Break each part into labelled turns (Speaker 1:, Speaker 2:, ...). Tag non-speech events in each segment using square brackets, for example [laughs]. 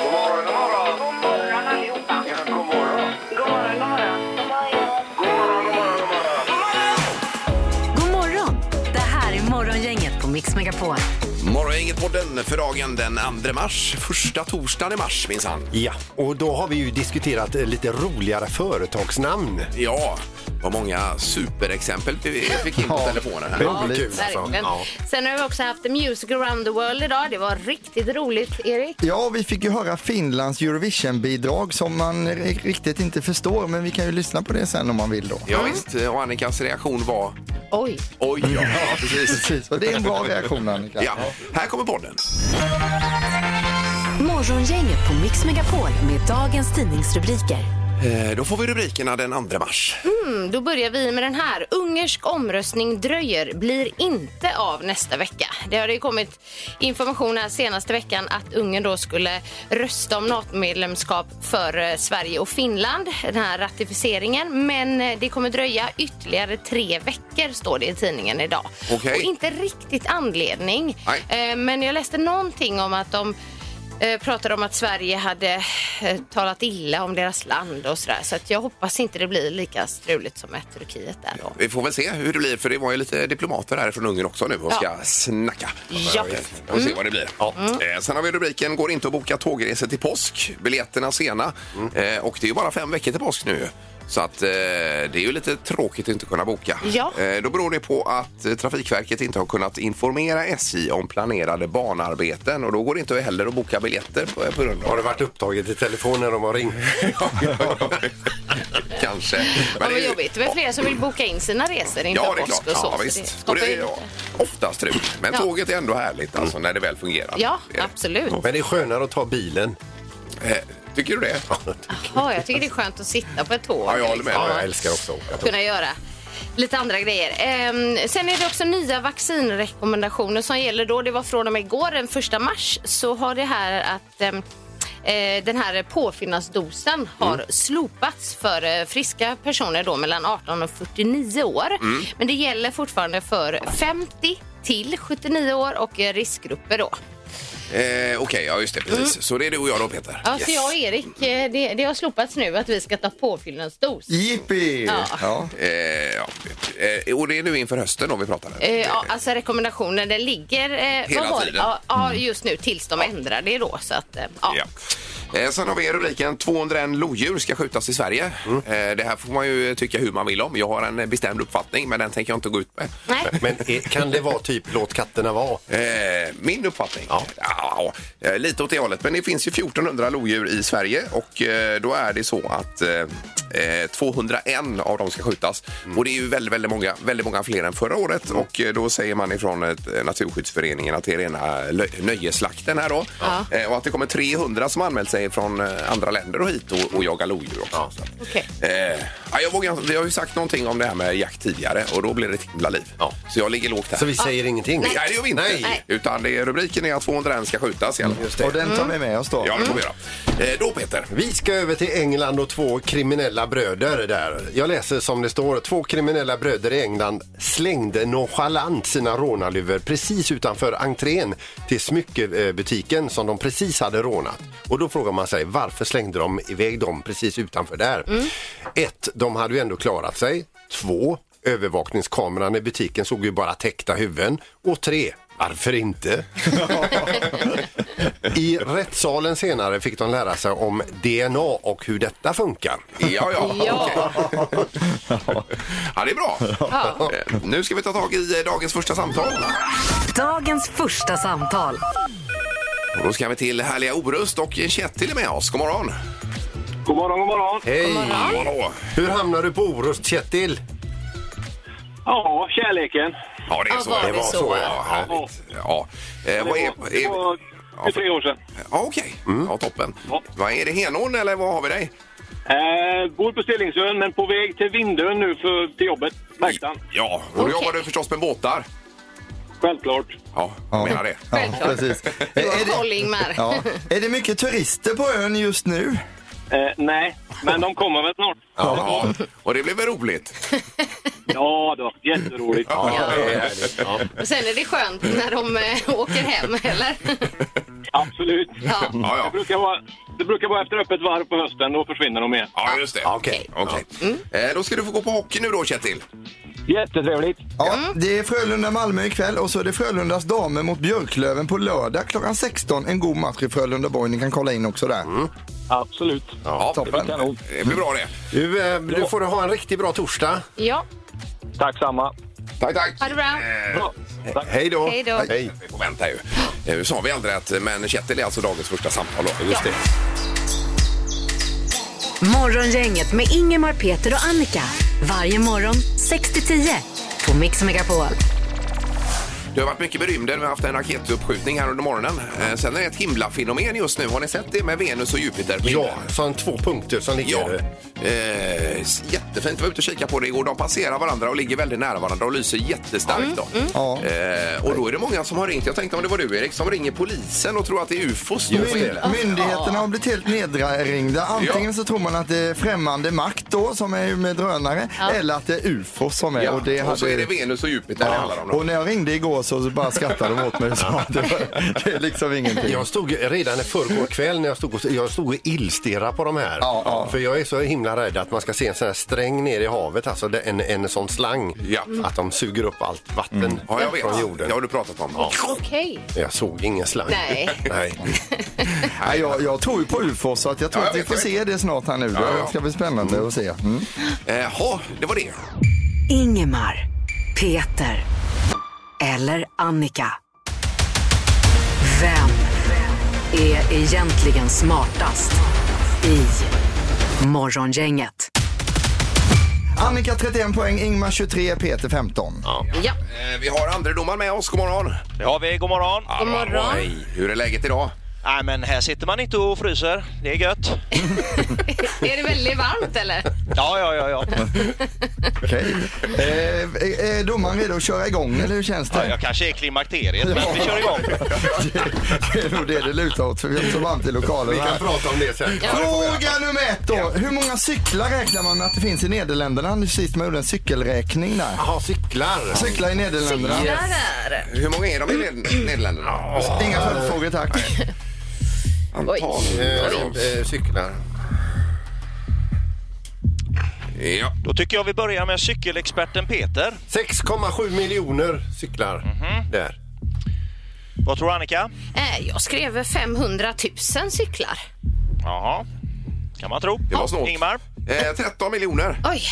Speaker 1: God morgon, god morgon. God morgon allihopa. Ja, god morgon. God morgon, god morgon.
Speaker 2: God
Speaker 1: God morgon, god morgon, god morgon.
Speaker 2: morgon! Det här är Morgongänget på Mix Megapol.
Speaker 3: Morgongänget på den för dagen den 2 mars. Första torsdagen i mars minsann.
Speaker 4: Ja, och då har vi ju diskuterat eh, lite roligare företagsnamn.
Speaker 3: Ja, vad många superexempel vi fick in på telefonen här.
Speaker 4: Ja, Roligt. alltså.
Speaker 5: Verkligen.
Speaker 4: Ja.
Speaker 5: Sen har vi också haft Music around the world idag. Det var riktigt roligt, Erik.
Speaker 6: Ja, vi fick ju höra Finlands Eurovision-bidrag som man ri- riktigt inte förstår, men vi kan ju lyssna på det sen om man vill då.
Speaker 3: Ja, visst, och Annikas reaktion var
Speaker 5: Oj.
Speaker 3: oj, ja, precis.
Speaker 6: Precis, och det är en bra reaktion Annika.
Speaker 3: Ja, här kommer podden.
Speaker 2: Morgongänget på Mix Megapol med dagens tidningsrubriker.
Speaker 3: Eh, Då får vi rubrikerna den 2 mars.
Speaker 5: Mm, Då börjar vi med den här. Ungersk omröstning dröjer, blir inte av nästa vecka. Det har ju kommit information här senaste veckan att Ungern då skulle rösta om NATO-medlemskap för eh, Sverige och Finland, den här ratificeringen. Men eh, det kommer dröja ytterligare tre veckor, står det i tidningen idag.
Speaker 3: Okej.
Speaker 5: Och inte riktigt anledning.
Speaker 3: Nej.
Speaker 5: Eh, Men jag läste någonting om att de eh, pratade om att Sverige hade eh, talat illa om deras land och sådär. Så att jag hoppas inte det blir lika struligt som med Turkiet där då.
Speaker 3: Vi får väl se hur det blir, för det var ju lite diplomater här från Ungern också nu och ska
Speaker 5: Ja.
Speaker 3: snacka.
Speaker 5: Ja.
Speaker 3: Och se vad det blir. Eh, Sen har vi rubriken Går inte att boka tågresor till påsk. Biljetterna sena.
Speaker 5: Mm.
Speaker 3: Eh, Och det är ju bara fem veckor till påsk nu. Så att eh, det är ju lite tråkigt att inte kunna boka.
Speaker 5: Ja.
Speaker 3: Eh, då beror det på att eh, Trafikverket inte har kunnat informera SJ om planerade banarbeten och då går det inte heller att boka biljetter på, på grund av
Speaker 4: Har
Speaker 3: [laughs]
Speaker 4: det varit upptaget i telefon när de har ringt?
Speaker 3: Kanske.
Speaker 5: Men
Speaker 3: det är
Speaker 5: vad
Speaker 3: ju-
Speaker 5: jobbigt. Det var flera som vill boka in sina resor inför
Speaker 3: Ja, det är
Speaker 5: påsk
Speaker 3: klart.
Speaker 5: och så.
Speaker 3: Ja,
Speaker 5: så det
Speaker 3: visst.
Speaker 5: skapar
Speaker 3: och det
Speaker 5: ju
Speaker 3: är
Speaker 5: lite-
Speaker 3: ofta strul. Men
Speaker 5: Ja. Mm.
Speaker 3: tåget är ändå härligt alltså, när det väl fungerar.
Speaker 5: Ja,
Speaker 3: Det är det.
Speaker 5: absolut.
Speaker 4: Men det är skönare att ta bilen.
Speaker 3: Eh, Tycker du det?
Speaker 5: Jaha, jag tycker det är skönt att sitta på ett tåg.
Speaker 3: Ja, jag håller med.
Speaker 4: Ja, jag älskar också att åka tåg.
Speaker 5: kunna göra lite andra grejer. Ehm, sen är det också nya vaccinrekommendationer som gäller då. Det var från och med igår, den 1 mars, så har det här att ehm, eh, den här
Speaker 4: Mm.
Speaker 5: påfyllnadsdosen har slopats för eh, friska personer då mellan 18 och 49 år.
Speaker 4: Mm.
Speaker 5: Men det gäller fortfarande för 50 till 79 år och eh, riskgrupper då.
Speaker 3: Eh, Okej, ja just det. Precis. Så det är du och jag då Peter.
Speaker 5: Mm. Ja,
Speaker 3: Yes.
Speaker 5: så jag och Erik, eh, det, det har slopats nu att vi ska ta påfyllnadsdos.
Speaker 6: Jippi!
Speaker 5: Ja.
Speaker 6: Ja.
Speaker 3: Eh, ja. Eh, och det är nu inför hösten då vi pratar?
Speaker 5: Eh, ja, alltså rekommendationen den ligger eh,
Speaker 3: Hela
Speaker 5: vad var det?
Speaker 3: tiden.
Speaker 5: Ja, ja, just nu tills de ändrar det då. Så att, eh, ja.
Speaker 3: Ja. Eh, Sen har vi rubriken 201 lodjur ska skjutas i Sverige.
Speaker 5: Mm.
Speaker 3: Eh, Det här får man ju tycka hur man vill om. Jag har en bestämd uppfattning men den tänker jag inte gå ut med.
Speaker 5: Nej.
Speaker 4: Men är, kan det vara typ låt katterna vara?
Speaker 3: Eh, min uppfattning? Ja. eh, lite åt det hållet. Men det finns ju 1400 lodjur i Sverige och eh, då är det så att eh, eh, 201 av dem ska skjutas.
Speaker 4: Mm.
Speaker 3: Och det är ju väldigt, väldigt många, väldigt många fler än förra året. Och eh, då säger man ifrån eh, Naturskyddsföreningen att det är rena lö- nöjesslakten här då. Eh, och att det kommer 300 som anmält sig från eh, andra länder och hit och, och jagar lodjur också. Så att-
Speaker 5: Okej.
Speaker 3: Eh, ja, jag, vågar, inte- jag har ju sagt någonting om det här med jakt tidigare och då blir det ett himla liv. Så jag ligger lågt här.
Speaker 4: Så vi säger ingenting?
Speaker 3: Nej, det gör vi inte.
Speaker 4: Nej.
Speaker 3: Utan det är, rubriken är att 201 ska skjutas i alla fall.
Speaker 6: Och den tar vi med oss då.
Speaker 3: Ja, det får vi göra. Eh, då Peter.
Speaker 4: Vi ska över till England och två kriminella bröder där. Jag läser som det står. Två kriminella bröder i England slängde nonchalant sina rånarluvor precis utanför entrén till smyckebutiken som de precis hade rånat. Och då frågar man sig varför slängde de iväg dem precis utanför där? Ett, de hade ju ändå klarat sig. Två, övervakningskameran i butiken såg ju bara täckta huvuden. Och tre, varför inte? I rättssalen senare fick de lära sig om DNA och hur detta funkar.
Speaker 3: Ja, ja.
Speaker 5: Ja.
Speaker 3: okej. ja, det är bra. Eh, nu ska vi ta tag i eh, dagens första samtal.
Speaker 2: Dagens första samtal.
Speaker 3: Och då ska vi till härliga Orust och Kjetil är med oss. God morgon.
Speaker 1: God morgon, god morgon.
Speaker 4: Hej!
Speaker 3: Hallå.
Speaker 4: Hur hamnar du på Orust, Kjetil?
Speaker 1: Ja, kärleken.
Speaker 3: Ja, det är
Speaker 5: Ja,
Speaker 3: så.
Speaker 5: var det så?
Speaker 3: Ja, härligt. Ja. Eh,
Speaker 1: Det
Speaker 3: vad är...
Speaker 1: var, det var för
Speaker 3: är
Speaker 1: tre år sedan.
Speaker 3: Ja, okej. Ja, toppen.
Speaker 1: Ja.
Speaker 3: Vad Är det Henån eller vad har vi dig?
Speaker 7: Eh, bor på Stillingsön, men på väg till Vindön nu för, till jobbet, märkte han.
Speaker 3: Ja, och då
Speaker 5: Okej.
Speaker 3: jobbar du förstås med båtar.
Speaker 7: Självklart.
Speaker 3: Ja, jag menar det.
Speaker 6: Ja,
Speaker 5: Självklart.
Speaker 6: precis.
Speaker 5: Du
Speaker 6: Är- är
Speaker 5: har
Speaker 6: det-
Speaker 5: koll, Ingmar.
Speaker 6: Ja. Är det mycket turister på ön just nu?
Speaker 7: Eh, nej, men de kommer väl snart.
Speaker 3: Ja, och det blev väl roligt?
Speaker 7: Ja då, jätteroligt.
Speaker 3: Ja, det är härligt.
Speaker 5: Och sen är det skönt när de eh, åker hem, eller? [laughs]
Speaker 7: Absolut.
Speaker 5: Ja.
Speaker 3: Ja, ja.
Speaker 7: Det, brukar vara, det brukar vara efter öppet varv på hösten, då försvinner de igen.
Speaker 3: Ja, just det.
Speaker 4: Okej.
Speaker 3: Okej. Eh, Då ska du få gå på hockey nu då, Kjetil.
Speaker 7: Jättetrevligt.
Speaker 6: Ja, det är Frölunda-Malmö ikväll och så är det Frölundas damer mot Björklöven på lördag klockan 16. En god match i Frölunda-Borg. Ni kan kolla in också där.
Speaker 3: Mm,
Speaker 7: Absolut.
Speaker 3: Ja,
Speaker 6: toppen.
Speaker 3: Det blir bra det.
Speaker 4: Du, eh, du får ha en riktigt bra torsdag.
Speaker 5: Ja,
Speaker 7: Tack samma.
Speaker 3: Tack, tack. Eh,
Speaker 5: ha det bra.
Speaker 7: Bra.
Speaker 4: Hej då.
Speaker 5: Hej då.
Speaker 4: Hej.
Speaker 3: Vi får vänta ju. Eh, Nu sa vi aldrig att, men Kjetil är alltså dagens första samtal då.
Speaker 4: Just det.
Speaker 2: Morgongänget med Ingemar, Peter och Annika. Varje morgon 6 till 10 på Mix Megapol.
Speaker 3: Det har varit mycket berymden. Vi har haft en raketuppskjutning här under morgonen. Eh, Sen är det ett himlafenomen just nu. Har ni sett det med Venus och Jupiter? på
Speaker 4: Ja,
Speaker 3: himlen?
Speaker 4: som två punkter som
Speaker 3: Ja.
Speaker 4: ligger.
Speaker 3: Eh, jättefint. Jag var ute och kikade på det igår. De passerar varandra och ligger väldigt nära varandra och lyser jättestarkt. Då.
Speaker 6: Ja.
Speaker 3: Eh, och då är det många som har ringt. Jag tänkte om det var du Erik som ringer polisen och tror att det är ufos. då på himlen.
Speaker 6: Myndigheterna har blivit helt nedringda. Antingen så tror man att det är främmande makt då som är med drönare eller att det är UFO som är.
Speaker 3: Ja,
Speaker 6: Och, det
Speaker 3: och så
Speaker 6: hade-
Speaker 3: är det Venus och Jupiter det handlar om. då.
Speaker 6: och när jag ringde igår så bara skrattade de åt mig och sa att det, var, det är liksom ingenting.
Speaker 4: Jag stod redan i förrgår kväll när jag stod och, jag stod och illstirrade på de här.
Speaker 6: Ja, ja.
Speaker 4: För jag är så himla rädd att man ska se en sån här sträng ner i havet, alltså det- en, en sån slang. Mm.
Speaker 3: Ja. Mm.
Speaker 4: Att de suger upp allt vatten
Speaker 3: Ja, jag vet.
Speaker 4: från jorden.
Speaker 3: Det har du pratat om.
Speaker 5: Okej.
Speaker 4: Jag såg ingen slang.
Speaker 5: Nej. [laughs]
Speaker 4: Nej.
Speaker 6: Nej, jag, jag tror ju på UFO så att jag tror
Speaker 3: Ja, jag
Speaker 6: att vi
Speaker 3: vet,
Speaker 6: får
Speaker 3: jag
Speaker 6: se det snart här nu.
Speaker 3: Ja, ja.
Speaker 6: Det ska bli spännande att se. Mm.
Speaker 3: Jaha, Eh, det var det.
Speaker 2: Ingemar, Peter eller Annika. Vem är egentligen smartast i Morgongänget?
Speaker 6: Annika 31 poäng, Ingmar 23, Peter 15.
Speaker 5: Ja.
Speaker 3: Eh, Vi har andre domaren med oss. God morgon.
Speaker 7: Det har vi. God morgon.
Speaker 3: God
Speaker 5: morgon.
Speaker 3: Hur är läget idag?
Speaker 7: Nej, men här sitter man inte och fryser. Det är gött.
Speaker 5: Är det väldigt varmt, eller?
Speaker 7: Ja, ja, ja. ja.
Speaker 3: [laughs]
Speaker 6: Okej. Eh, är- är domaren redo att köra igång eller hur känns det?
Speaker 7: Jag kanske är klimakteriet, men vi kör igång.
Speaker 6: [laughs] Det är nog det det lutar åt för vi har så varmt i lokalen
Speaker 4: Vi kan
Speaker 6: här.
Speaker 4: prata om det sen.
Speaker 6: Fråga nummer ett då. Hur många cyklar räknar man med att det finns i Nederländerna? Nu sist man gjorde en cykelräkning där.
Speaker 4: Jaha, cyklar.
Speaker 6: Cyklar i Nederländerna.
Speaker 5: Där.
Speaker 3: Hur många är de i Ned- Nederländerna?
Speaker 6: Inga följdfrågor tack.
Speaker 3: Antal.
Speaker 4: Eh,
Speaker 3: Ja, då.
Speaker 4: eh, cyklar.
Speaker 3: Ja.
Speaker 7: Då tycker jag vi börjar med cykelexperten Peter.
Speaker 4: 6,7 miljoner cyklar.
Speaker 6: Mhm.
Speaker 4: Där.
Speaker 7: Vad tror Annika?
Speaker 5: Eh, Jag skrev 500 000 cyklar.
Speaker 7: Jaha, kan man tro.
Speaker 3: Det var snålt.
Speaker 7: Ingmar?
Speaker 3: Eh, 13 miljoner.
Speaker 5: Oj.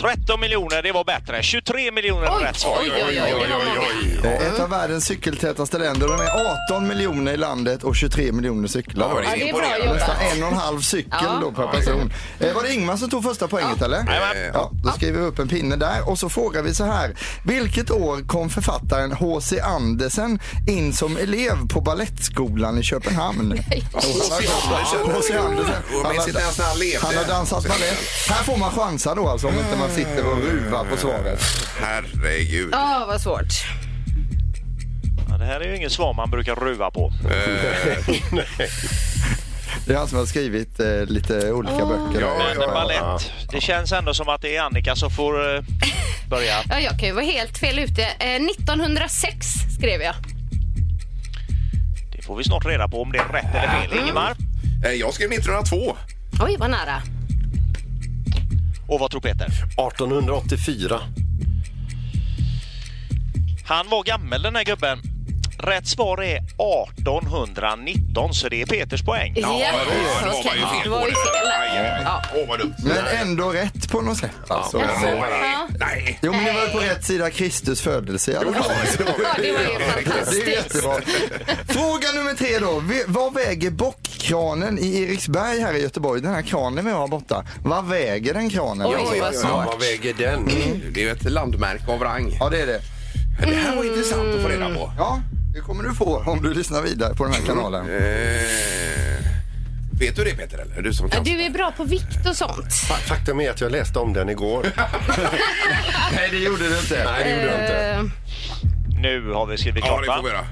Speaker 7: 13 miljoner, det var bättre. 23 miljoner är
Speaker 5: Oj,
Speaker 7: rätt svar.
Speaker 5: oj, oj, oj, oj, det var många.
Speaker 6: Eh, Ett av världens cykeltätaste länder. De är 18 miljoner i landet och 23 miljoner cyklar.
Speaker 3: Ja,
Speaker 6: då.
Speaker 3: det är
Speaker 5: Ja, det är bra
Speaker 3: imponerande.
Speaker 5: jobbat.
Speaker 6: Nästan en och en halv cykel
Speaker 5: Ja.
Speaker 6: då per person. Eh, var det Ingmar som tog första poänget eller?
Speaker 7: Jajamän.
Speaker 6: Ja, då skriver vi upp en pinne där och så frågar vi så här. Vilket år kom författaren H.C. Andersen in som elev på Balettskolan
Speaker 5: [laughs]
Speaker 6: i Köpenhamn?
Speaker 3: H.C. Andersen.
Speaker 6: H.C. Andersen.
Speaker 3: Och
Speaker 6: Han
Speaker 3: minns inte ens när han
Speaker 6: har-
Speaker 3: levde.
Speaker 6: Han har dansat balett. Här får man chansa då alltså om inte man sitter och ruvar på svaret.
Speaker 3: Herregud.
Speaker 5: Ja, vad svårt.
Speaker 7: Ja, det här är ju inget svar man brukar ruva på.
Speaker 6: Det är han som har skrivit eh, lite olika böcker.
Speaker 3: Ja,
Speaker 7: Men balett, det känns ändå som att det är Annika som får eh, börja.
Speaker 5: Ja, jag kan ju vara helt fel ute. Eh, 1906 skrev jag.
Speaker 7: Det får vi snart reda på om det är rätt eller fel.
Speaker 5: Mm.
Speaker 7: Ingemar?
Speaker 3: Eh, Jag skrev 1902.
Speaker 5: Oj, vad nära.
Speaker 7: Och vad tror Peter?
Speaker 4: 1884.
Speaker 7: Han var gammal den här gubben. Rätt svar är 1819, så det är Peters poäng.
Speaker 5: Ja, okej. Det var ju fel. Ja.
Speaker 3: Åh, vad dumt.
Speaker 6: Men ändå rätt på något sätt. Alltså.
Speaker 5: Ja.
Speaker 3: Nej.
Speaker 6: Jo, men ni var ju på rätt sida Kristus födelse i alla fall.
Speaker 5: Ja, det var ju
Speaker 6: Det är ju
Speaker 5: fantastiskt.
Speaker 6: jättebra. Fråga nummer tre då. Vi- Vad väger bockkranen i Eriksberg här i Göteborg? Den här kranen vi har borta. Vad väger den kranen? Liksom?
Speaker 5: Oj, vad
Speaker 4: Ja,
Speaker 5: svårt.
Speaker 4: vad väger den?
Speaker 3: Det är ju ett landmärke av rang.
Speaker 6: Ja, det är det.
Speaker 3: Det här var intressant att få reda på.
Speaker 6: Ja, det kommer du få om du lyssnar vidare på den här kanalen.
Speaker 3: Eh, Vet du det Peter? Eller? Du som kan.
Speaker 5: Du är bra på vikt och sånt.
Speaker 4: Fa- Faktum är att jag läste om den
Speaker 6: [laughs]
Speaker 4: igår.
Speaker 6: Nej, det gjorde du inte.
Speaker 4: Nej, det gjorde jag inte.
Speaker 5: Eh,
Speaker 7: Nu har vi skrivit
Speaker 3: Ja,
Speaker 7: klart
Speaker 3: det får vi
Speaker 7: va?
Speaker 3: göra.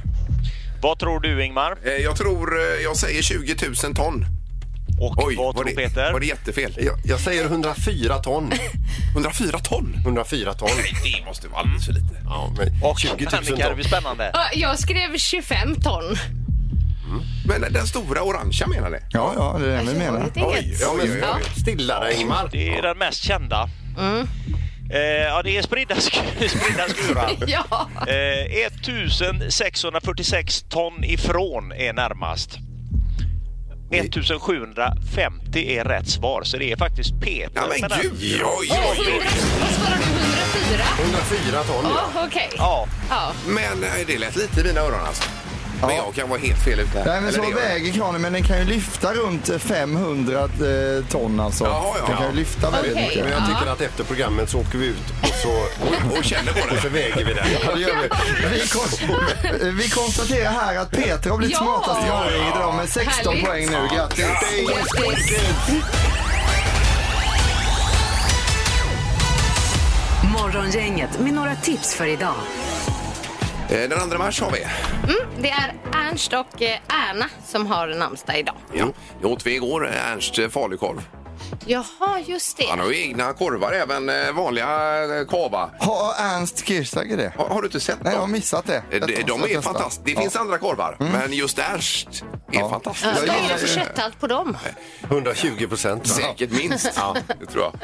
Speaker 7: Vad tror du Ingmar?
Speaker 3: Eh, Jag tror, eh, jag säger 20 000 ton.
Speaker 7: Och vad
Speaker 3: var
Speaker 7: tror
Speaker 3: det,
Speaker 7: Peter?
Speaker 3: Var det jättefel?
Speaker 4: Jag, jag säger 104 ton.
Speaker 3: 104 ton?
Speaker 4: 104
Speaker 6: [laughs]
Speaker 4: ton.
Speaker 3: Nej, det måste vara alldeles för lite.
Speaker 4: Ja, men
Speaker 7: Och
Speaker 4: 20 000
Speaker 7: Annika, det
Speaker 4: ton.
Speaker 7: blir spännande.
Speaker 5: ja, Jag skrev 25 ton.
Speaker 3: Men den stora orangea menar ni?
Speaker 6: Ja, ja, det är det vi menar.
Speaker 5: Det är inget.
Speaker 3: ja, men-
Speaker 5: Ja.
Speaker 4: Stilla dig Ingmar.
Speaker 7: Det är den mest kända. Eh, ja, det är spridda, sk- [laughs] spridda skurar.
Speaker 5: Ja.
Speaker 7: Eh, 1646 ton ifrån är närmast. 1750 är rätt svar, så det är faktiskt Peter.
Speaker 3: Ja, men
Speaker 7: med den.
Speaker 3: gud! Oj, oj, oj.
Speaker 5: 100, vad svarade du? 104?
Speaker 4: 104 ton. ja.
Speaker 5: Ja, okej.
Speaker 7: Ja,
Speaker 5: Ja.
Speaker 3: Men eh, det lät lite i mina öron alltså. Men jag kan vara helt fel ute här.
Speaker 6: Nej, men så
Speaker 3: Eller det gör jag.
Speaker 6: väger kranen, men den kan ju lyfta runt 500 eh, ton alltså.
Speaker 3: Ja, ja.
Speaker 6: Den kan ju lyfta väldigt
Speaker 5: Okej.
Speaker 6: mycket.
Speaker 4: Men jag tycker att efter programmet så åker vi ut och så,
Speaker 3: [laughs] Och känner på
Speaker 4: och så
Speaker 3: det.
Speaker 4: väger vi den.
Speaker 6: Ja, det gör vi. [laughs] Vi, kon- [laughs] vi konstaterar här att Peter har blivit
Speaker 5: Ja.
Speaker 6: smartast i avgänget idag med 16
Speaker 5: Härligt.
Speaker 6: poäng nu. Grattis!
Speaker 5: Grattis.
Speaker 2: Morgongänget med några tips för idag.
Speaker 3: Eh, Den andra mars har vi.
Speaker 5: Det är Ernst och eh, Erna som har namnsdag idag.
Speaker 3: Ja. Det åt vi igår, eh, Ernst eh, falukorv.
Speaker 5: Jaha, just det.
Speaker 3: Han har ju egna korvar, även eh, vanliga eh, kava.
Speaker 6: Har Ernst Kirchsteiger det?
Speaker 3: Har, har du inte sett
Speaker 6: Nej, jag har
Speaker 3: dem?
Speaker 6: missat det.
Speaker 3: Eh, De,
Speaker 6: Jag
Speaker 3: de
Speaker 6: måste
Speaker 3: är
Speaker 6: testa.
Speaker 3: fantastiska. Det
Speaker 6: Ja. Mm.
Speaker 3: finns andra korvar, men just Ernst är fantastisk.
Speaker 5: Vad är
Speaker 6: gillar
Speaker 5: det för
Speaker 6: ju-
Speaker 5: kötthalt på dem?
Speaker 4: 120 procent.
Speaker 3: Säkert minst. Ja. Det tror jag.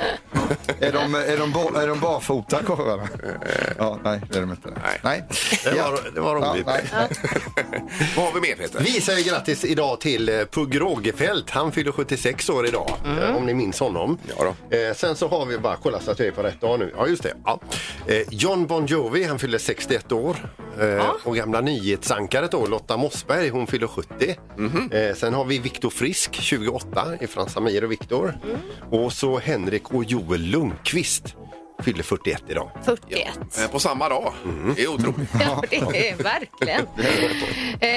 Speaker 6: Är de, är de, bo, är de barfota korvarna? Ja, nej, det är de inte.
Speaker 3: Nej.
Speaker 4: Det var, det var
Speaker 6: Ja,
Speaker 4: roligt.
Speaker 6: nej.
Speaker 3: Vad har vi mer Peter?
Speaker 4: Vi säger grattis idag till eh, Pugh Rogefeldt. Han fyller 76 år idag, eh, om ni minns honom.
Speaker 3: Ja
Speaker 4: Eh, Sen så har vi, bara kolla så att jag är på rätt dag nu. Ja, just det. Ja. Eh, John Bon Jovi, han fyller 61 år. Eh, Och gamla nyhetsankaret då, Lotta Mossberg, hon fyller 70. Eh, Sen har vi Viktor Frisk, 28, ifrån Samir och Viktor. Och så Henrik och Joel Lundqvist fyller 41 idag.
Speaker 5: 41.
Speaker 3: Eh, På samma dag.
Speaker 4: Mm.
Speaker 3: Det
Speaker 4: [laughs]
Speaker 3: är otroligt.
Speaker 5: Ja, [laughs] det är verkligen. Eh,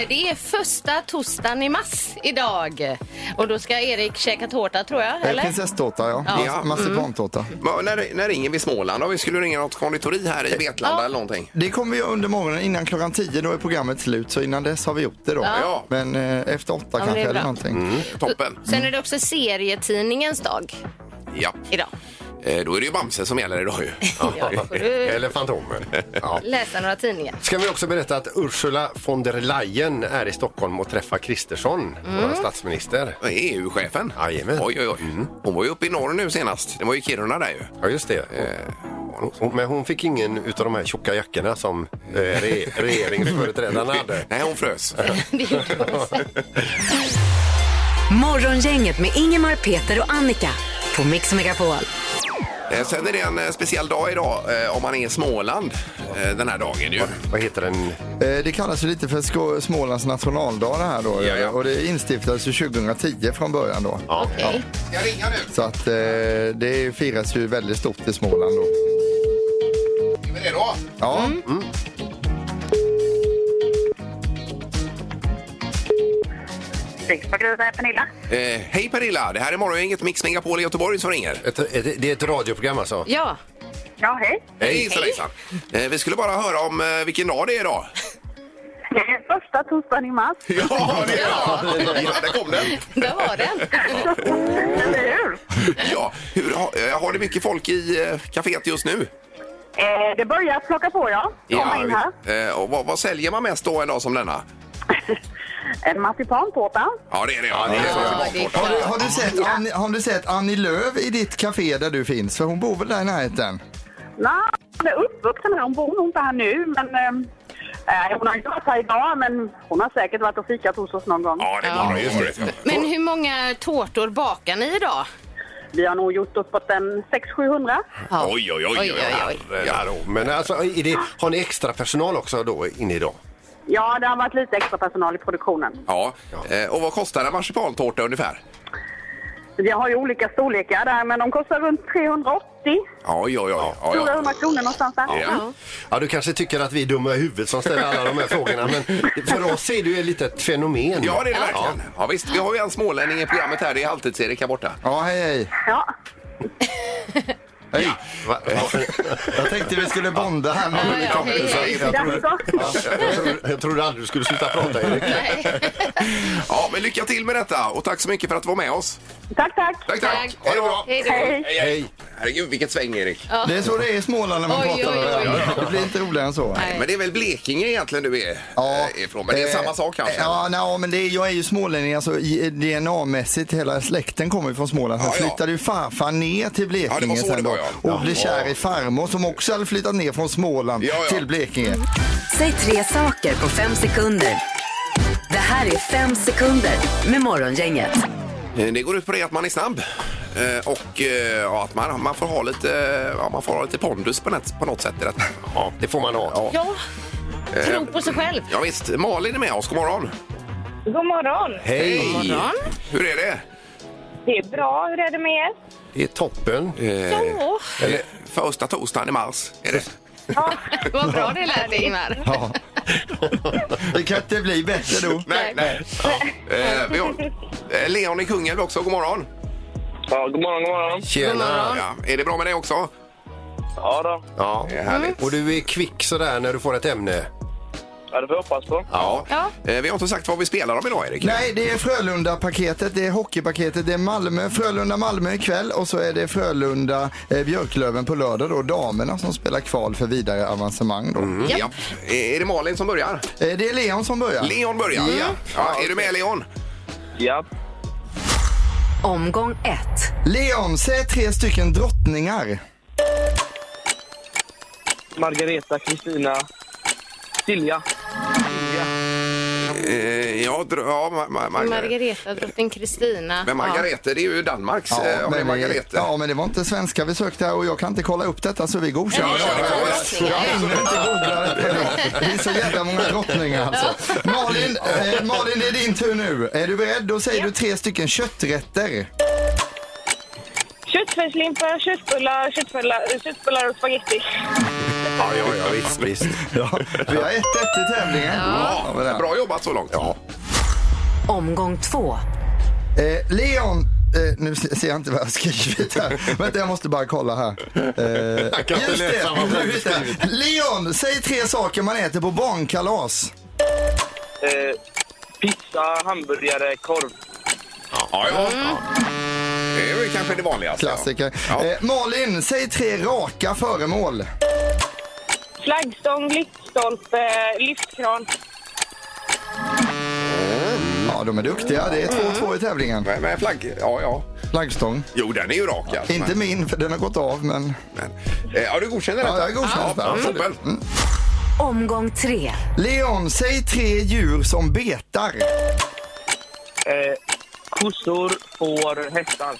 Speaker 5: Det är första torsdagen i mars idag. Och då ska Erik käka tårta tror jag,
Speaker 6: Eh,
Speaker 5: eller?
Speaker 6: Prinsesstårta, ja.
Speaker 3: Ja.
Speaker 6: Marsipantårta.
Speaker 3: Men när, när ringer vi Småland? Om vi skulle ringa något konditori här i Vetlanda eller någonting.
Speaker 6: Det kommer vi göra under morgonen innan klockan 10. Då är programmet slut, så innan dess har vi gjort det då.
Speaker 3: Ja.
Speaker 6: Men eh, efter åtta
Speaker 5: men det
Speaker 6: kanske
Speaker 5: är bra.
Speaker 6: eller
Speaker 5: Mm.
Speaker 6: någonting.
Speaker 3: Toppen.
Speaker 5: Sen är det också serietidningens dag
Speaker 3: Ja.
Speaker 5: idag.
Speaker 3: Eh, Då är det ju Bamse som gäller idag ju.
Speaker 5: Ja, då får du
Speaker 4: Eller Fantomen. Ja.
Speaker 5: läsa några tidningar.
Speaker 4: Ska vi också berätta att Ursula von der Leyen är i Stockholm och träffar Kristersson,
Speaker 3: Mm.
Speaker 4: vår statsminister.
Speaker 3: EU-chefen.
Speaker 4: Jajamän.
Speaker 3: E
Speaker 4: Mm.
Speaker 3: Oj, oj, oj. Hon var ju uppe i norr nu senast. Det var ju Kiruna där ju. Eh,
Speaker 4: Ja, just det. Hon- hon- Men hon fick ingen utav de här tjocka jackorna som eh, re regeringsföreträdarna hade.
Speaker 3: Nej, hon frös.
Speaker 5: Det gjorde hon säkert.
Speaker 2: Morgongänget med Ingemar, Peter och Annika på Mix Megapol.
Speaker 3: Eh, Sen är det en eh, speciell dag idag eh, om man är i Småland eh, den här dagen ju.
Speaker 4: Vad heter den?
Speaker 6: Eh, Det kallas ju lite för Skå- Smålands nationaldag det här då.
Speaker 3: Ja, ja.
Speaker 6: Och det instiftades ju 2010 från början då.
Speaker 5: Okej.
Speaker 3: Ska jag ringa nu?
Speaker 6: Så att eh, det firas ju väldigt stort i Småland då.
Speaker 3: Är vi redo?
Speaker 6: Ja,
Speaker 5: Mm.
Speaker 1: Rikspaket är Pernilla.
Speaker 3: Eh, hej Perilla, det här är Morgongänget Mix Megapol i Göteborg som ringer.
Speaker 4: Ett, ett, det är ett radioprogram alltså.
Speaker 5: Ja,
Speaker 1: Ja, hej.
Speaker 3: Hej hejsan. Eh, vi skulle bara höra om eh, vilken dag det är idag.
Speaker 1: Det är första torsdagen i mars.
Speaker 3: [laughs] Ja, det är det. Ja, där kom den.
Speaker 5: [laughs] där var den.
Speaker 1: Eller hur?
Speaker 3: Ja, hur, ha, eh, har det mycket folk i eh, kaféet just nu?
Speaker 1: Eh, det börjar plocka på, ja. Komma in här. [laughs]
Speaker 3: Eh, och vad, vad säljer man mest då en dag som denna?
Speaker 1: En marsipantårta.
Speaker 3: Ja, det är det. Ja, det är det.
Speaker 5: Ja, det är
Speaker 6: har du,
Speaker 5: klart.
Speaker 6: har, du sett Annie, har du sett Annie Lööf i ditt café där du finns? För hon bor väl där i närheten?
Speaker 1: Nej, hon är uppvuxen här. Hon bor nog inte här nu, men... Eh, hon har inte varit här idag, men hon har säkert varit och fikat hos oss någon gång.
Speaker 3: Ja, det
Speaker 5: Ja.
Speaker 3: var det. Just det.
Speaker 5: Men hur många tårtor bakar ni idag?
Speaker 1: Vi har nog gjort uppåt en 600-700.
Speaker 5: Ja.
Speaker 3: Oj, oj, oj. oj, oj,
Speaker 4: Ja, då. Men alltså, är det, har ni extra personal också då in idag?
Speaker 1: Ja, det har varit lite extra personal i produktionen.
Speaker 3: Ja, eh, och vad kostar en marsipantårta ungefär?
Speaker 1: Vi har ju olika storlekar där, men de kostar runt 380.
Speaker 3: Ja, ja, ja. ja, ja.
Speaker 1: 400 kronor någonstans där.
Speaker 3: Ja.
Speaker 4: Ja, du kanske tycker att vi är dumma i huvudet som ställer alla de
Speaker 3: [laughs]
Speaker 4: här frågorna, men för oss är det ju ett litet fenomen.
Speaker 3: Ja, det är det verkligen. Ja, visst. Vi har ju en smålänning i programmet här. Det är Halvtids-Erik här borta.
Speaker 6: Ja, hej hej.
Speaker 1: Ja.
Speaker 6: hej.
Speaker 4: Va- [laughs] ja.
Speaker 6: Jag tänkte vi skulle bonda här med
Speaker 5: Ja, ja,
Speaker 6: kompisar.
Speaker 5: hej,
Speaker 6: Jag tror-
Speaker 1: Jaså?
Speaker 4: Jag, tro- jag trodde aldrig du skulle sluta prata, Erik.
Speaker 3: Ja, men lycka till med detta och tack så mycket för att du var med oss.
Speaker 1: Tack, tack.
Speaker 5: Tack.
Speaker 3: Tack, tack. Ha det bra.
Speaker 5: Hej då.
Speaker 1: Hej.
Speaker 3: Hej,
Speaker 4: Hej.
Speaker 3: hej. Herregud, vilket sväng, Erik.
Speaker 6: Det är så det är i Småland när man
Speaker 5: Oj,
Speaker 6: pratar
Speaker 5: oj, oj.
Speaker 6: med varandra. Det blir inte roligare än så.
Speaker 5: Nej.
Speaker 3: Men det är väl Blekinge egentligen du är
Speaker 6: Ja.
Speaker 3: ja. ifrån? Men det är
Speaker 6: Eh,
Speaker 3: samma sak kanske?
Speaker 6: Ja, nej, men det är, jag är ju smålänning, alltså i- DNA-mässigt, hela släkten kommer ju från Småland. Sen
Speaker 3: Ja, ja.
Speaker 6: flyttade ju farfar ner till Blekinge
Speaker 3: Ja, det var så det
Speaker 6: sen då,
Speaker 3: var, ja.
Speaker 6: och blev
Speaker 3: Ja.
Speaker 6: kär i farmor som också hade flyttat ner från Småland
Speaker 3: Ja, ja.
Speaker 6: till Blekinge.
Speaker 2: Säg tre saker på fem sekunder. Det här är fem sekunder med Morgongänget.
Speaker 3: Eh, Det går ut på det att man är snabb eh, och eh, ja, att man, man, får ha lite, eh, ja, man får ha lite pondus på något, på något sätt i detta.
Speaker 4: Ja, det får man ha.
Speaker 3: Ja.
Speaker 5: Ja, tro på sig själv.
Speaker 3: Ja, visst, Malin är med oss. God morgon!
Speaker 1: God morgon.
Speaker 4: Hej!
Speaker 5: morgon.
Speaker 3: Hur är det?
Speaker 1: Det är bra. Hur är det med er?
Speaker 4: Det är toppen.
Speaker 3: Eh.
Speaker 5: Ja,
Speaker 3: Eller, första torsdagen i mars är det.
Speaker 5: vad bra det lät Ingmar.
Speaker 6: Ja. Det kan inte bli bättre då.
Speaker 3: Nej, nej. Ja. Eh, vi har, eh, Leon i Kungälv också. God morgon!
Speaker 8: Ja, god morgon, god morgon.
Speaker 4: Tjena!
Speaker 3: Ja, Mm. är det bra med dig också?
Speaker 8: Ja då,
Speaker 4: Ja.
Speaker 3: Det är härligt.
Speaker 4: Och du är kvick sådär när du får ett ämne.
Speaker 8: ja, det får jag hoppas på.
Speaker 3: Ja.
Speaker 5: Ja.
Speaker 3: Eh, Vi har inte sagt vad vi spelar om idag, Erik.
Speaker 6: Nej, det är Frölunda-paketet, det är hockeypaketet, det är Malmö, Frölunda-Malmö ikväll och så är det Frölunda-Björklöven på lördag då, damerna som spelar kval för vidare avancemang då.
Speaker 3: Ja. Eh, Är det Malin som börjar?
Speaker 6: Eh, Det är Leon som börjar.
Speaker 3: Leon börjar. Ja. är du med, Leon?
Speaker 8: Ja.
Speaker 2: Omgång ett.
Speaker 6: Leon, säg tre stycken drottningar.
Speaker 8: Margareta, Kristina, Silja. Silja.
Speaker 3: Eh, ja, dr- ja ma- ma- ma-
Speaker 5: Margareta, drottning Kristina.
Speaker 3: Men Margareta, det är ju Danmarks. eh, om det är
Speaker 6: men vi-
Speaker 3: Margareta.
Speaker 6: ja, men det var inte svenska vi sökte här och jag kan inte kolla upp detta så vi godkänner
Speaker 3: Ja, ja, ja,
Speaker 5: ja.
Speaker 6: Jag hinner inte googla detta idag. Det är så jävla många drottningar alltså. Malin, eh, Malin, det är din tur nu. Är du beredd? Då säger du tre stycken kötträtter.
Speaker 1: Köttfärslimpa, köttbullar, köttbullar, köttbullar och spagetti.
Speaker 3: ja, ja, ja, visst, visst.
Speaker 6: Ja, vi har 1-1 i tävlingen.
Speaker 3: Ja,
Speaker 6: men där.
Speaker 3: bra jobbat så långt. Ja.
Speaker 2: Omgång två.
Speaker 6: Eh, Leon, eh, nu se- ser jag inte vad jag har skrivit här. Vänta, jag måste bara kolla här. Eh,
Speaker 4: Jag kan inte
Speaker 6: just det,
Speaker 4: läsa vad
Speaker 6: nu
Speaker 4: jag har
Speaker 6: hittar jag. Leon, säg tre saker man äter på barnkalas.
Speaker 8: Eh, pizza, hamburgare, korv.
Speaker 3: Ja, ja, Det är väl kanske det vanligaste. ja.
Speaker 6: Klassiker.
Speaker 3: Ja.
Speaker 6: Eh, Malin, säg tre raka föremål.
Speaker 1: Flaggstång, lyktstolpe, lyftkran.
Speaker 6: Ja, de är duktiga. Det är
Speaker 3: Mm.
Speaker 6: 2-2 i tävlingen.
Speaker 3: Men, men flagg... Ja, ja.
Speaker 6: Flaggstång.
Speaker 3: Jo, den är ju rak. alltså.
Speaker 6: Inte
Speaker 3: men,
Speaker 6: min, för den har gått av, men...
Speaker 3: men, eh, Ja, du godkänner detta?
Speaker 6: Ja, jag godkänner detta,
Speaker 3: ja,
Speaker 6: absolut.
Speaker 3: toppen.
Speaker 2: Omgång tre.
Speaker 6: Leon, säg tre djur som betar.
Speaker 8: Eh, kossor, får, hästar.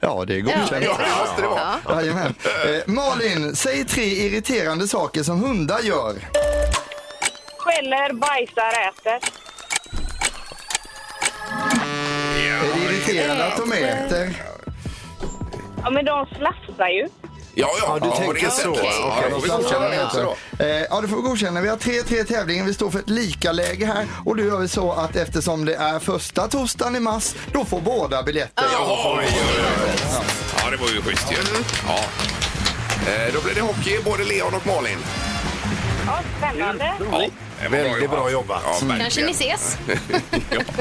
Speaker 6: Ja, det är godkänt.
Speaker 3: Ja, det måste det vara.
Speaker 6: Jajamän. Eh, Malin, säg tre irriterande saker som hundar gör.
Speaker 1: Skäller, bajsar, äter.
Speaker 6: Är det irriterande att de äter?
Speaker 1: Ja, men de slafsar ju.
Speaker 3: Ja, ja.
Speaker 4: Ja, du
Speaker 3: på
Speaker 4: tänker
Speaker 3: det
Speaker 4: så.
Speaker 3: sättet.
Speaker 4: Okej.
Speaker 3: Ja, då får vi godkänna det också då.
Speaker 6: Eh, Ja, du får godkänna. Vi har 3-3 tävlingen. Vi står för ett lika läge här. Och då gör vi så att eftersom det är första torsdagen i mars, då får båda biljetter.
Speaker 3: Jaha, oj, oj, oj. Ja, det var ju schysst ju. Ja. Eh, Då blir det hockey, både Leon och Malin.
Speaker 1: Ja, spännande.
Speaker 3: Ja, det var
Speaker 4: Väldigt bra jobbat.
Speaker 3: Ja, verkligen.
Speaker 5: Kanske ni ses?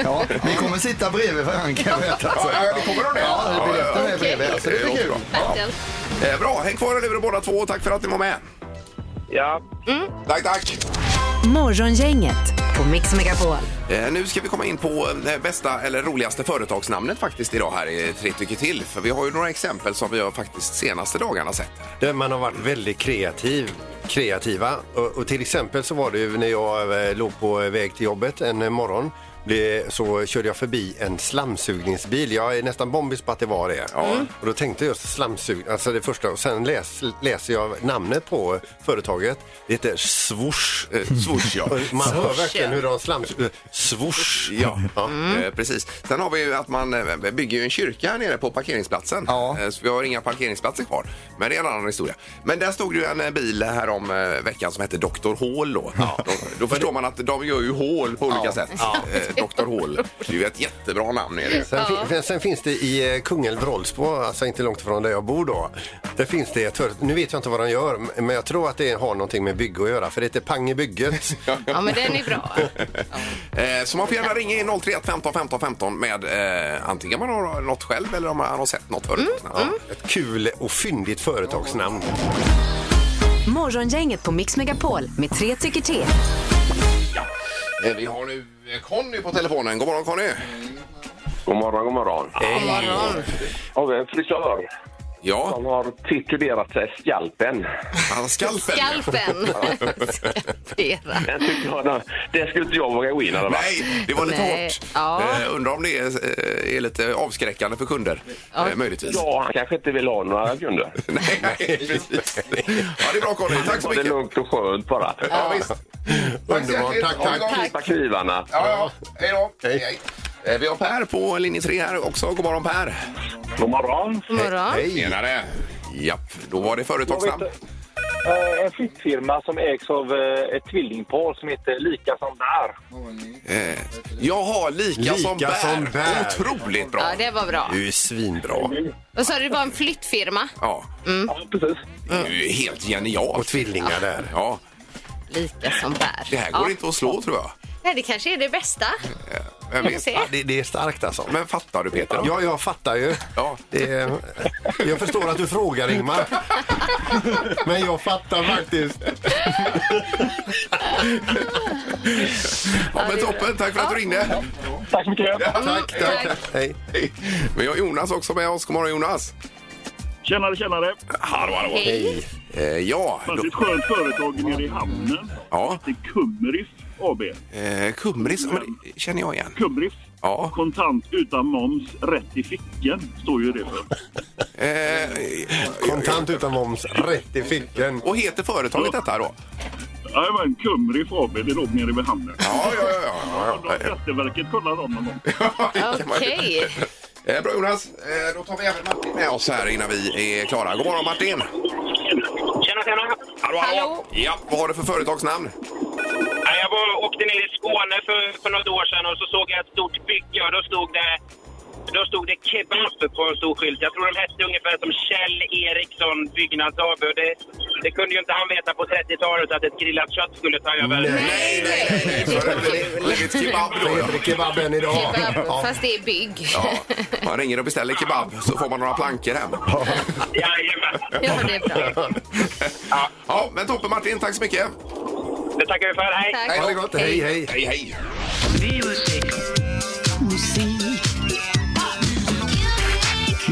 Speaker 6: Ja, vi kommer sitta bredvid varandra kan jag berätta.
Speaker 3: Ja, ja, det kommer de det?
Speaker 6: Ja, biljetterna är
Speaker 3: okej.
Speaker 6: bredvid. Så det blir
Speaker 3: Ja,
Speaker 6: kul.
Speaker 3: bra.
Speaker 5: Bertil.
Speaker 3: Eh, Bra, häng kvar i luren båda två och tack för att ni var med.
Speaker 8: Ja.
Speaker 3: Tack, tack.
Speaker 2: Morgongänget på Mix Megapol.
Speaker 3: Eh, nu ska vi komma in på eh, bästa eller roligaste företagsnamnet faktiskt idag här i Tre tycker till. För vi har ju några exempel som vi har faktiskt senaste dagarna sett.
Speaker 4: Där man har varit väldigt kreativ, kreativa. Och, och till exempel så var det ju när jag eh, låg på väg till jobbet en eh, morgon. blev, så körde jag förbi en slamsugningsbil. Jag är nästan bombis på att det var det.
Speaker 3: Mm.
Speaker 4: Och då tänkte jag just slamsug, alltså det första. Och sen läs, läser jag namnet på företaget. Det heter Swoosh.
Speaker 3: [laughs]
Speaker 4: Eh,
Speaker 3: Swoosh, Mm. ja.
Speaker 4: Och Man hör
Speaker 3: Swoosh,
Speaker 4: verkligen
Speaker 3: ja.
Speaker 4: hur de slamsuger. Swoosh.
Speaker 3: Ja, eh, precis. Sen har vi ju att man eh, bygger ju en kyrka här nere på parkeringsplatsen. Eh, Så vi har inga parkeringsplatser kvar. Men det är en annan historia. Men där stod ju en eh, bil här om eh, veckan som hette Dr. Hål då. då. Då förstår man att de gör ju hål på olika sätt. Eh, Dr. Hål. Det är ju ett jättebra namn. Är det.
Speaker 4: Sen, fin- sen finns det i eh, Kungälv Rollsbo, alltså inte långt från där jag bor då. Där finns det ett företag, nu vet jag inte vad de gör, m- men jag tror att det har någonting med bygge att göra, för det heter
Speaker 3: [laughs]
Speaker 4: Pangebygget.
Speaker 5: Ja, men den är bra.
Speaker 3: Eh, Så man får gärna ringa in 031 15 15 15 med eh, antingen man har något själv eller om man har sett något förut. Ja.
Speaker 4: Ett kul och fyndigt företagsnamn.
Speaker 2: Morgongänget på Mix Megapol med tre tycker till.
Speaker 3: Eh, Vi har nu eh, Conny på telefonen. God morgon Conny!
Speaker 8: God morgon, god morgon.
Speaker 4: Hej!
Speaker 8: Har vi en frisör
Speaker 3: Ja,
Speaker 8: som har titulerat sig Skalpen?
Speaker 3: han skalpen.
Speaker 5: Skalpen. Skalpera.
Speaker 8: Den tycker jag, det skulle inte jag våga gå in i alla fall.
Speaker 3: [laughs] Nej, det var lite
Speaker 5: Nej,
Speaker 3: hårt.
Speaker 5: ja.
Speaker 3: Eh, undrar om det är, eh, är lite avskräckande för kunder, eh, möjligtvis.
Speaker 8: Ja, han kanske inte vill ha några kunder.
Speaker 3: Nej, precis. Ja, det är bra Conny. Tack så
Speaker 8: Ha det
Speaker 3: mycket.
Speaker 8: lugnt och skönt bara.
Speaker 3: Ja, visst.
Speaker 4: Underbart, tack,
Speaker 3: Ha det gott.
Speaker 4: tack.
Speaker 8: Klippa knivarna.
Speaker 3: Ja, ja. Hej då. Hej. Eh, Vi har Per på linje 3 här också. God morgon Per.
Speaker 8: God morgon.
Speaker 5: God morgon.
Speaker 4: Hej!
Speaker 3: Tjenare. Japp, då var det företagsnamn.
Speaker 8: eh, En flyttfirma som ägs av eh, ett tvillingpar som heter Lika som där.
Speaker 3: Eh, jaha, lika,
Speaker 4: Lika
Speaker 3: som, bär.
Speaker 4: som bär.
Speaker 3: Otroligt bra.
Speaker 5: Ja, det var bra.
Speaker 4: Du är svinbra.
Speaker 5: Vad sa du, det var en flyttfirma?
Speaker 3: Ja,
Speaker 8: Ja, precis.
Speaker 3: det är ju helt
Speaker 4: Och
Speaker 3: genialt.
Speaker 4: tvillingar där.
Speaker 3: Ja,
Speaker 5: Lika som bär.
Speaker 3: det här går
Speaker 5: ja.
Speaker 3: inte att slå tror jag.
Speaker 5: Nej, det kanske är det bästa.
Speaker 3: Vem
Speaker 5: Vi får
Speaker 3: vet?
Speaker 5: se.
Speaker 4: Ja, det, det är starkt alltså.
Speaker 3: Men fattar du Peter?
Speaker 4: Ja, jag fattar ju.
Speaker 3: Ja.
Speaker 4: Det är, jag förstår att du frågar Ingmar. Men jag fattar faktiskt.
Speaker 3: Ja, men toppen. Tack för att du ringde.
Speaker 8: Tack så mycket.
Speaker 5: Mm,
Speaker 4: Tack, tack. Hej.
Speaker 3: Hej. Vi har Jonas också med oss. God morgon, Jonas.
Speaker 8: Tjenare, tjenare.
Speaker 3: Hallå, hallå.
Speaker 5: Hej.
Speaker 3: Eh, ja,
Speaker 8: Fanns
Speaker 3: då,
Speaker 8: ett skönt företag nere i hamnen.
Speaker 3: ja.
Speaker 8: Det är Kummerif AB.
Speaker 3: Eh, Kumris, ja, men det känner jag igen.
Speaker 8: Kummerif.
Speaker 3: Ja.
Speaker 8: Kontant utan moms, rätt i fickan, står ju det för.
Speaker 3: Eh,
Speaker 4: Kontant utan moms, rätt i fickan.
Speaker 3: och heter företaget detta då?
Speaker 8: Jajamän, Kummerif AB, det låg nere vid hamnen.
Speaker 3: Ja, ja, ja. ja, ja, ja.
Speaker 8: Skatteverket kollar om någon gång.
Speaker 3: Det kan man ju.
Speaker 5: Okej.
Speaker 3: Eh, bra Jonas, eh, då tar vi även Martin med oss här innan vi är klara. God morgon Martin!
Speaker 8: Tjena, tjena.
Speaker 3: Hallå,
Speaker 5: Hallå. Eh,
Speaker 3: Ja, vad har du för företagsnamn?
Speaker 8: Nej, Jag var, åkte ner i Skåne för, för något år sedan och så såg jag ett stort bygge och då stod det, då stod det kebab på en stor skylt. Jag tror de hette ungefär som Kjell Eriksson Byggnads AB. och Det, det kunde ju inte han veta på 30-talet att ett grillat kött skulle ta över.
Speaker 3: Nej, nej, nej! nej. Så är det blivit kebab
Speaker 4: Det
Speaker 3: då. ja.
Speaker 4: heter kebaben idag.
Speaker 5: Kebab,
Speaker 4: Ja.
Speaker 5: Fast det är bygg.
Speaker 3: Ja, man ringer och beställer kebab så får man några plankor hem.
Speaker 8: Jajamän.
Speaker 5: Ja, det är bra.
Speaker 3: [laughs] Ja, men toppen Martin, tack så mycket!
Speaker 8: Det tackar vi för. Hej!
Speaker 5: Tack.
Speaker 4: Ha det gott, hej hej.
Speaker 3: Hej, hej!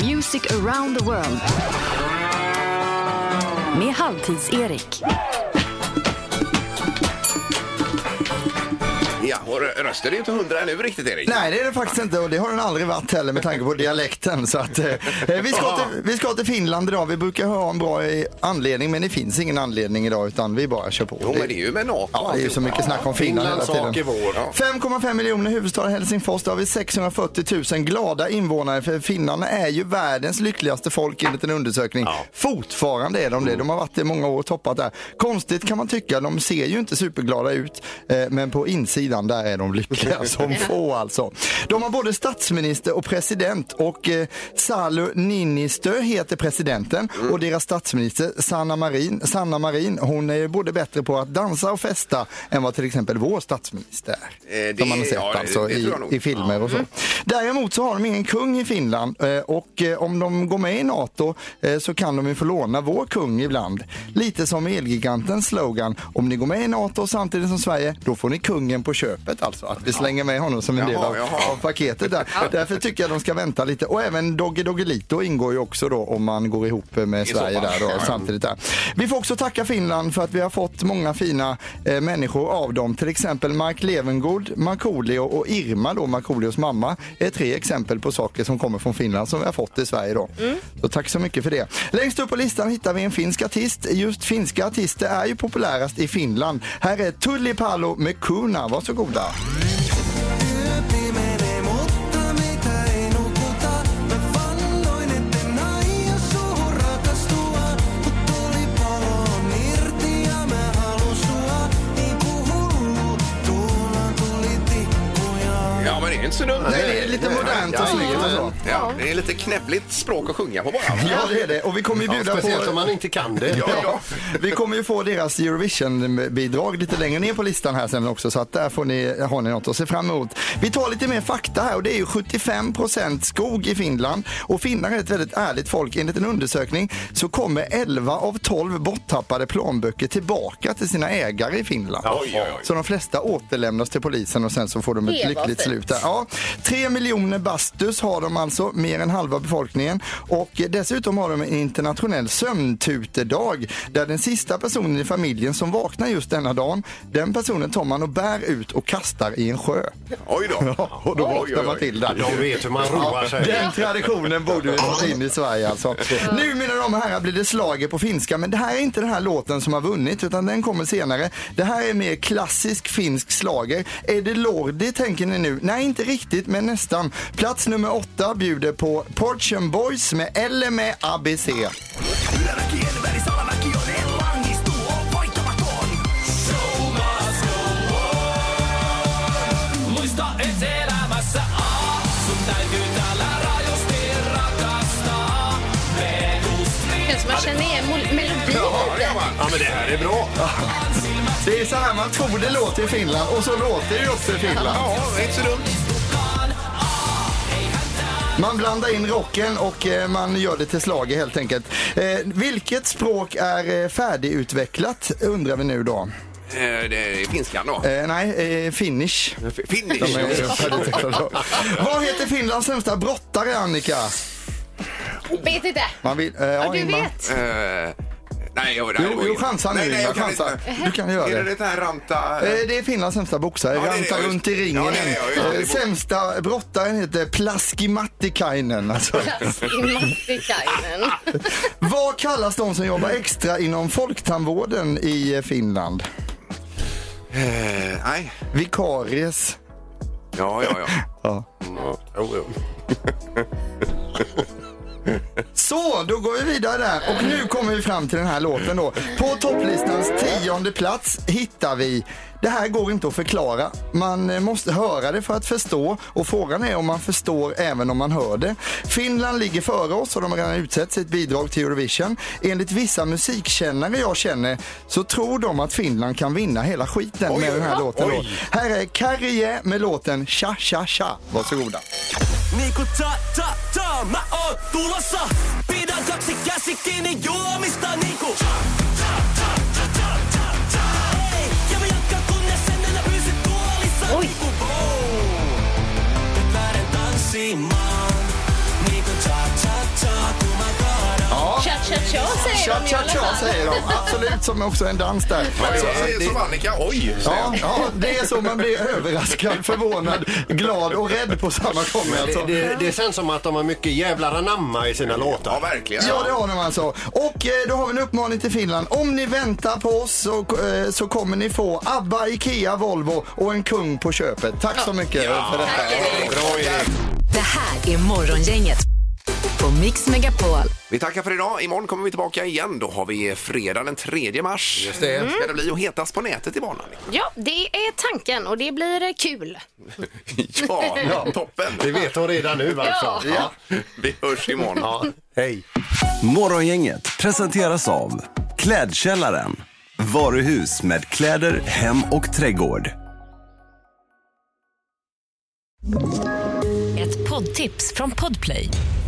Speaker 2: Music around the world. Med Halvtids-Erik.
Speaker 3: Ja, och rö- rösten är ju inte hundra ännu riktigt Erik.
Speaker 6: Nej, det är det faktiskt inte och det har den aldrig varit heller med tanke på dialekten. Så att, eh, vi, ska till, vi ska till Finland idag. Vi brukar ha en bra eh, anledning men det finns ingen anledning idag utan vi bara kör på.
Speaker 3: Jo, men det är ju med Nato.
Speaker 6: Ja, det är ju så mycket snack om Finland
Speaker 4: Finlands
Speaker 6: hela
Speaker 4: sak är
Speaker 6: tiden.
Speaker 4: vår.
Speaker 3: Ja.
Speaker 6: 5,5 miljoner huvudstad Helsingfors, där har vi 640 000 glada invånare för finnarna är ju världens lyckligaste folk enligt en undersökning. Fortfarande är de det, de har varit det i många år och toppat där. Konstigt kan man tycka, de ser ju inte superglada ut eh, men på insidan där är de lyckliga som få alltså. De har både statsminister och president och eh, Salu Niinistö heter presidenten och deras statsminister Sanna Marin, Sanna Marin hon är ju både bättre på att dansa och festa än vad till exempel vår statsminister är
Speaker 3: Eh, det-
Speaker 6: som man har sett
Speaker 3: ja, det-
Speaker 6: alltså,
Speaker 3: det tror jag nog. Mm.
Speaker 6: i, i filmer och så. Däremot så har de ingen kung i Finland eh, och eh, om de går med i NATO eh, så kan de ju få låna vår kung ibland. Lite som elgigantens slogan, om ni går med i NATO samtidigt som Sverige, då får ni kungen på köpet alltså. Att vi slänger med honom som en del
Speaker 3: Jaha,
Speaker 6: av,
Speaker 3: jaha.
Speaker 6: av paketet där. Därför tycker jag de ska vänta lite. Och även Doggy Doggelito ingår ju också då om man går ihop med
Speaker 9: I så
Speaker 6: Sverige
Speaker 9: fall.
Speaker 6: där då,
Speaker 9: Ja.
Speaker 6: samtidigt där. Vi får också tacka Finland för att vi har fått många fina eh, människor av dem. Till exempel Mark Levengood, Markoolio och Irma då, Markoolios mamma, är tre exempel på saker som kommer från Finland som vi har fått i Sverige då. Så tack så mycket för det. Längst upp på listan hittar vi en finsk artist. Just finska artister är ju populärast i Finland. Här är Tulli Palo med Kuna. Varsågoda.
Speaker 3: Ja, men det är inte så dumt.
Speaker 6: Nej, det är lite modernt och snyggt och så.
Speaker 3: Ja, det är lite knäppligt språk att sjunga på bara.
Speaker 6: Ja, det är det. Och vi kommer ju bjuda på...
Speaker 4: speciellt om man inte kan det.
Speaker 6: Ja, Vi kommer ju få deras Eurovision-bidrag lite längre ner på listan här sen också så att där får ni, har ni något att se fram emot. Vi tar lite mer fakta här och det är ju 75% skog i Finland och finnar är ett väldigt ärligt folk. Enligt en undersökning så kommer 11 av 12 borttappade plånböcker tillbaka till sina ägare i Finland.
Speaker 9: Oj, oj, oj.
Speaker 6: Så de flesta återlämnas till polisen och sen så får de ett
Speaker 9: Det var
Speaker 6: lyckligt
Speaker 9: fint.
Speaker 6: slut. Där. Ja, tre miljoner bastus har de alltså, mer än halva befolkningen. Och eh, dessutom har de en internationell sömntutedag där den sista personen i familjen som vaknar just denna dagen, den personen tar man och bär ut och kastar i en sjö.
Speaker 3: Oj då!
Speaker 6: Ja, och då
Speaker 4: Oj, oj,
Speaker 6: vaknar
Speaker 4: oj.
Speaker 6: man till där.
Speaker 4: De vet hur man roar sig.
Speaker 6: Den traditionen borde vi ta in i Sverige alltså. Nu mina damer och herrar blir det slaget på finska men det här är inte den här låten som har vunnit utan den kommer senare. Det här är mer klassisk finsk slager. Är det Lordi tänker ni nu? Nej inte riktigt men nästan. Plats nummer åtta bjuder på Portion Boys med Eller med ABC.
Speaker 9: Muista et elämässä A, sun täytyy täällä rajusti rakastaa. Me
Speaker 5: Det känns som man känner igen mol- melodin.
Speaker 4: Ja, men det här är bra.
Speaker 6: Det är så här man tror det låter i Finland och så låter det ju också i Finland.
Speaker 3: inte så dumt.
Speaker 6: Man blandar in rocken och eh, man gör det till slaget helt enkelt. Eh, vilket språk är eh, färdigutvecklat undrar vi nu då?
Speaker 3: Eh, Det är finskan då.
Speaker 6: Eh, nej,
Speaker 3: [laughs]
Speaker 6: eh, finnish.
Speaker 3: Finnish.
Speaker 6: De är ju färdigutvecklat då. Vad heter Finlands sämsta brottare Annika?
Speaker 5: Vet inte.
Speaker 6: Man vill, eh, ja,
Speaker 5: du
Speaker 6: Ingmar.
Speaker 5: vet.
Speaker 3: Eh, nej, jag, nej, det
Speaker 6: Jo,
Speaker 3: var
Speaker 6: jo
Speaker 3: ju-
Speaker 6: chansa nu
Speaker 3: Nej, nej,
Speaker 6: Ingmar,
Speaker 3: jag kan
Speaker 6: chansa.
Speaker 3: inte.
Speaker 6: Du kan göra
Speaker 3: Är det
Speaker 6: det.
Speaker 3: det här ranta?
Speaker 6: Eh, Det är Finlands sämsta boxare.
Speaker 3: det är det,
Speaker 6: Rantar
Speaker 3: ja,
Speaker 6: runt i
Speaker 3: just- ja,
Speaker 6: ringen.
Speaker 3: det är det, ja, just det.
Speaker 6: Eh, Sämsta brottaren heter Plaskimattikainen. Alltså.
Speaker 5: Plats i Mattikainen.
Speaker 6: Vad kallas de som jobbar extra inom folktandvården i eh, Finland?
Speaker 3: Eh, nej.
Speaker 6: Vikaries.
Speaker 3: Ja, ja, Mm, ja.
Speaker 6: Ja. Så, då går vi vidare där. Och nu kommer vi fram till den här låten då. På topplistans tionde plats hittar vi det här går inte att förklara. Man eh, måste höra det för att förstå och frågan är om man förstår även om man hör det. Finland ligger före oss och de har redan utsett sitt bidrag till Eurovision. Enligt vissa musikkännare jag känner så tror de att Finland kan vinna hela skiten
Speaker 9: Oj,
Speaker 6: med den här
Speaker 9: oj.
Speaker 6: låten. Då. Här är Karje med låten Cha Cha Cha. Varsågoda.
Speaker 9: Niin kuin ta ta ta, mä oon tulossa. Pidän kaksi käsi kiinni juomista niinku. Cha, cha, cha, cha, cha, cha, cha. Hei, ja mä jatkan kunnes en enää pysy tuolissa. Niinku wow. Nyt lähden tanssimaan. Niinku cha cha cha, kun mä kaadan.
Speaker 6: Ja.
Speaker 5: Cha-cha-cha säger de i alla
Speaker 6: Cha-cha-cha
Speaker 5: fall.
Speaker 6: säger de. Absolut, som också en dans där.
Speaker 3: Ja,
Speaker 6: Så-
Speaker 3: jag
Speaker 6: så
Speaker 3: säger
Speaker 6: det-
Speaker 3: som Annika, oj! säger
Speaker 6: Ja,
Speaker 3: jag.
Speaker 6: ja, det är så man blir överraskad, förvånad, glad och rädd på samma gång. Alltså.
Speaker 4: Det, det, det känns som att de har mycket jävlar anamma i sina låtar.
Speaker 3: Ja, verkligen.
Speaker 6: Ja, det har de alltså. Och eh, då har vi en uppmaning till Finland. Om ni väntar på oss så, eh, så kommer ni få ABBA, IKEA, Volvo och en kung på köpet. Tack så mycket för detta.
Speaker 3: Bra, Erik.
Speaker 2: Det här är Morgongänget på Mix Megapol.
Speaker 3: Vi tackar för idag. Imorgon kommer vi tillbaka igen. Då har vi fredag den 3 mars. Just det. Ska det bli och hetas på nätet imorgon? Annika?
Speaker 5: [laughs] Ja, det är tanken och det blir eh, kul.
Speaker 3: [laughs] Ja, ja, toppen!
Speaker 4: Det vet hon redan nu alltså.
Speaker 3: Ja. Vi hörs imorgon.
Speaker 4: Ja, hej.
Speaker 10: Morgongänget presenteras av Klädkällaren. Varuhus med kläder, hem och trädgård.
Speaker 11: Ett poddtips från Podplay.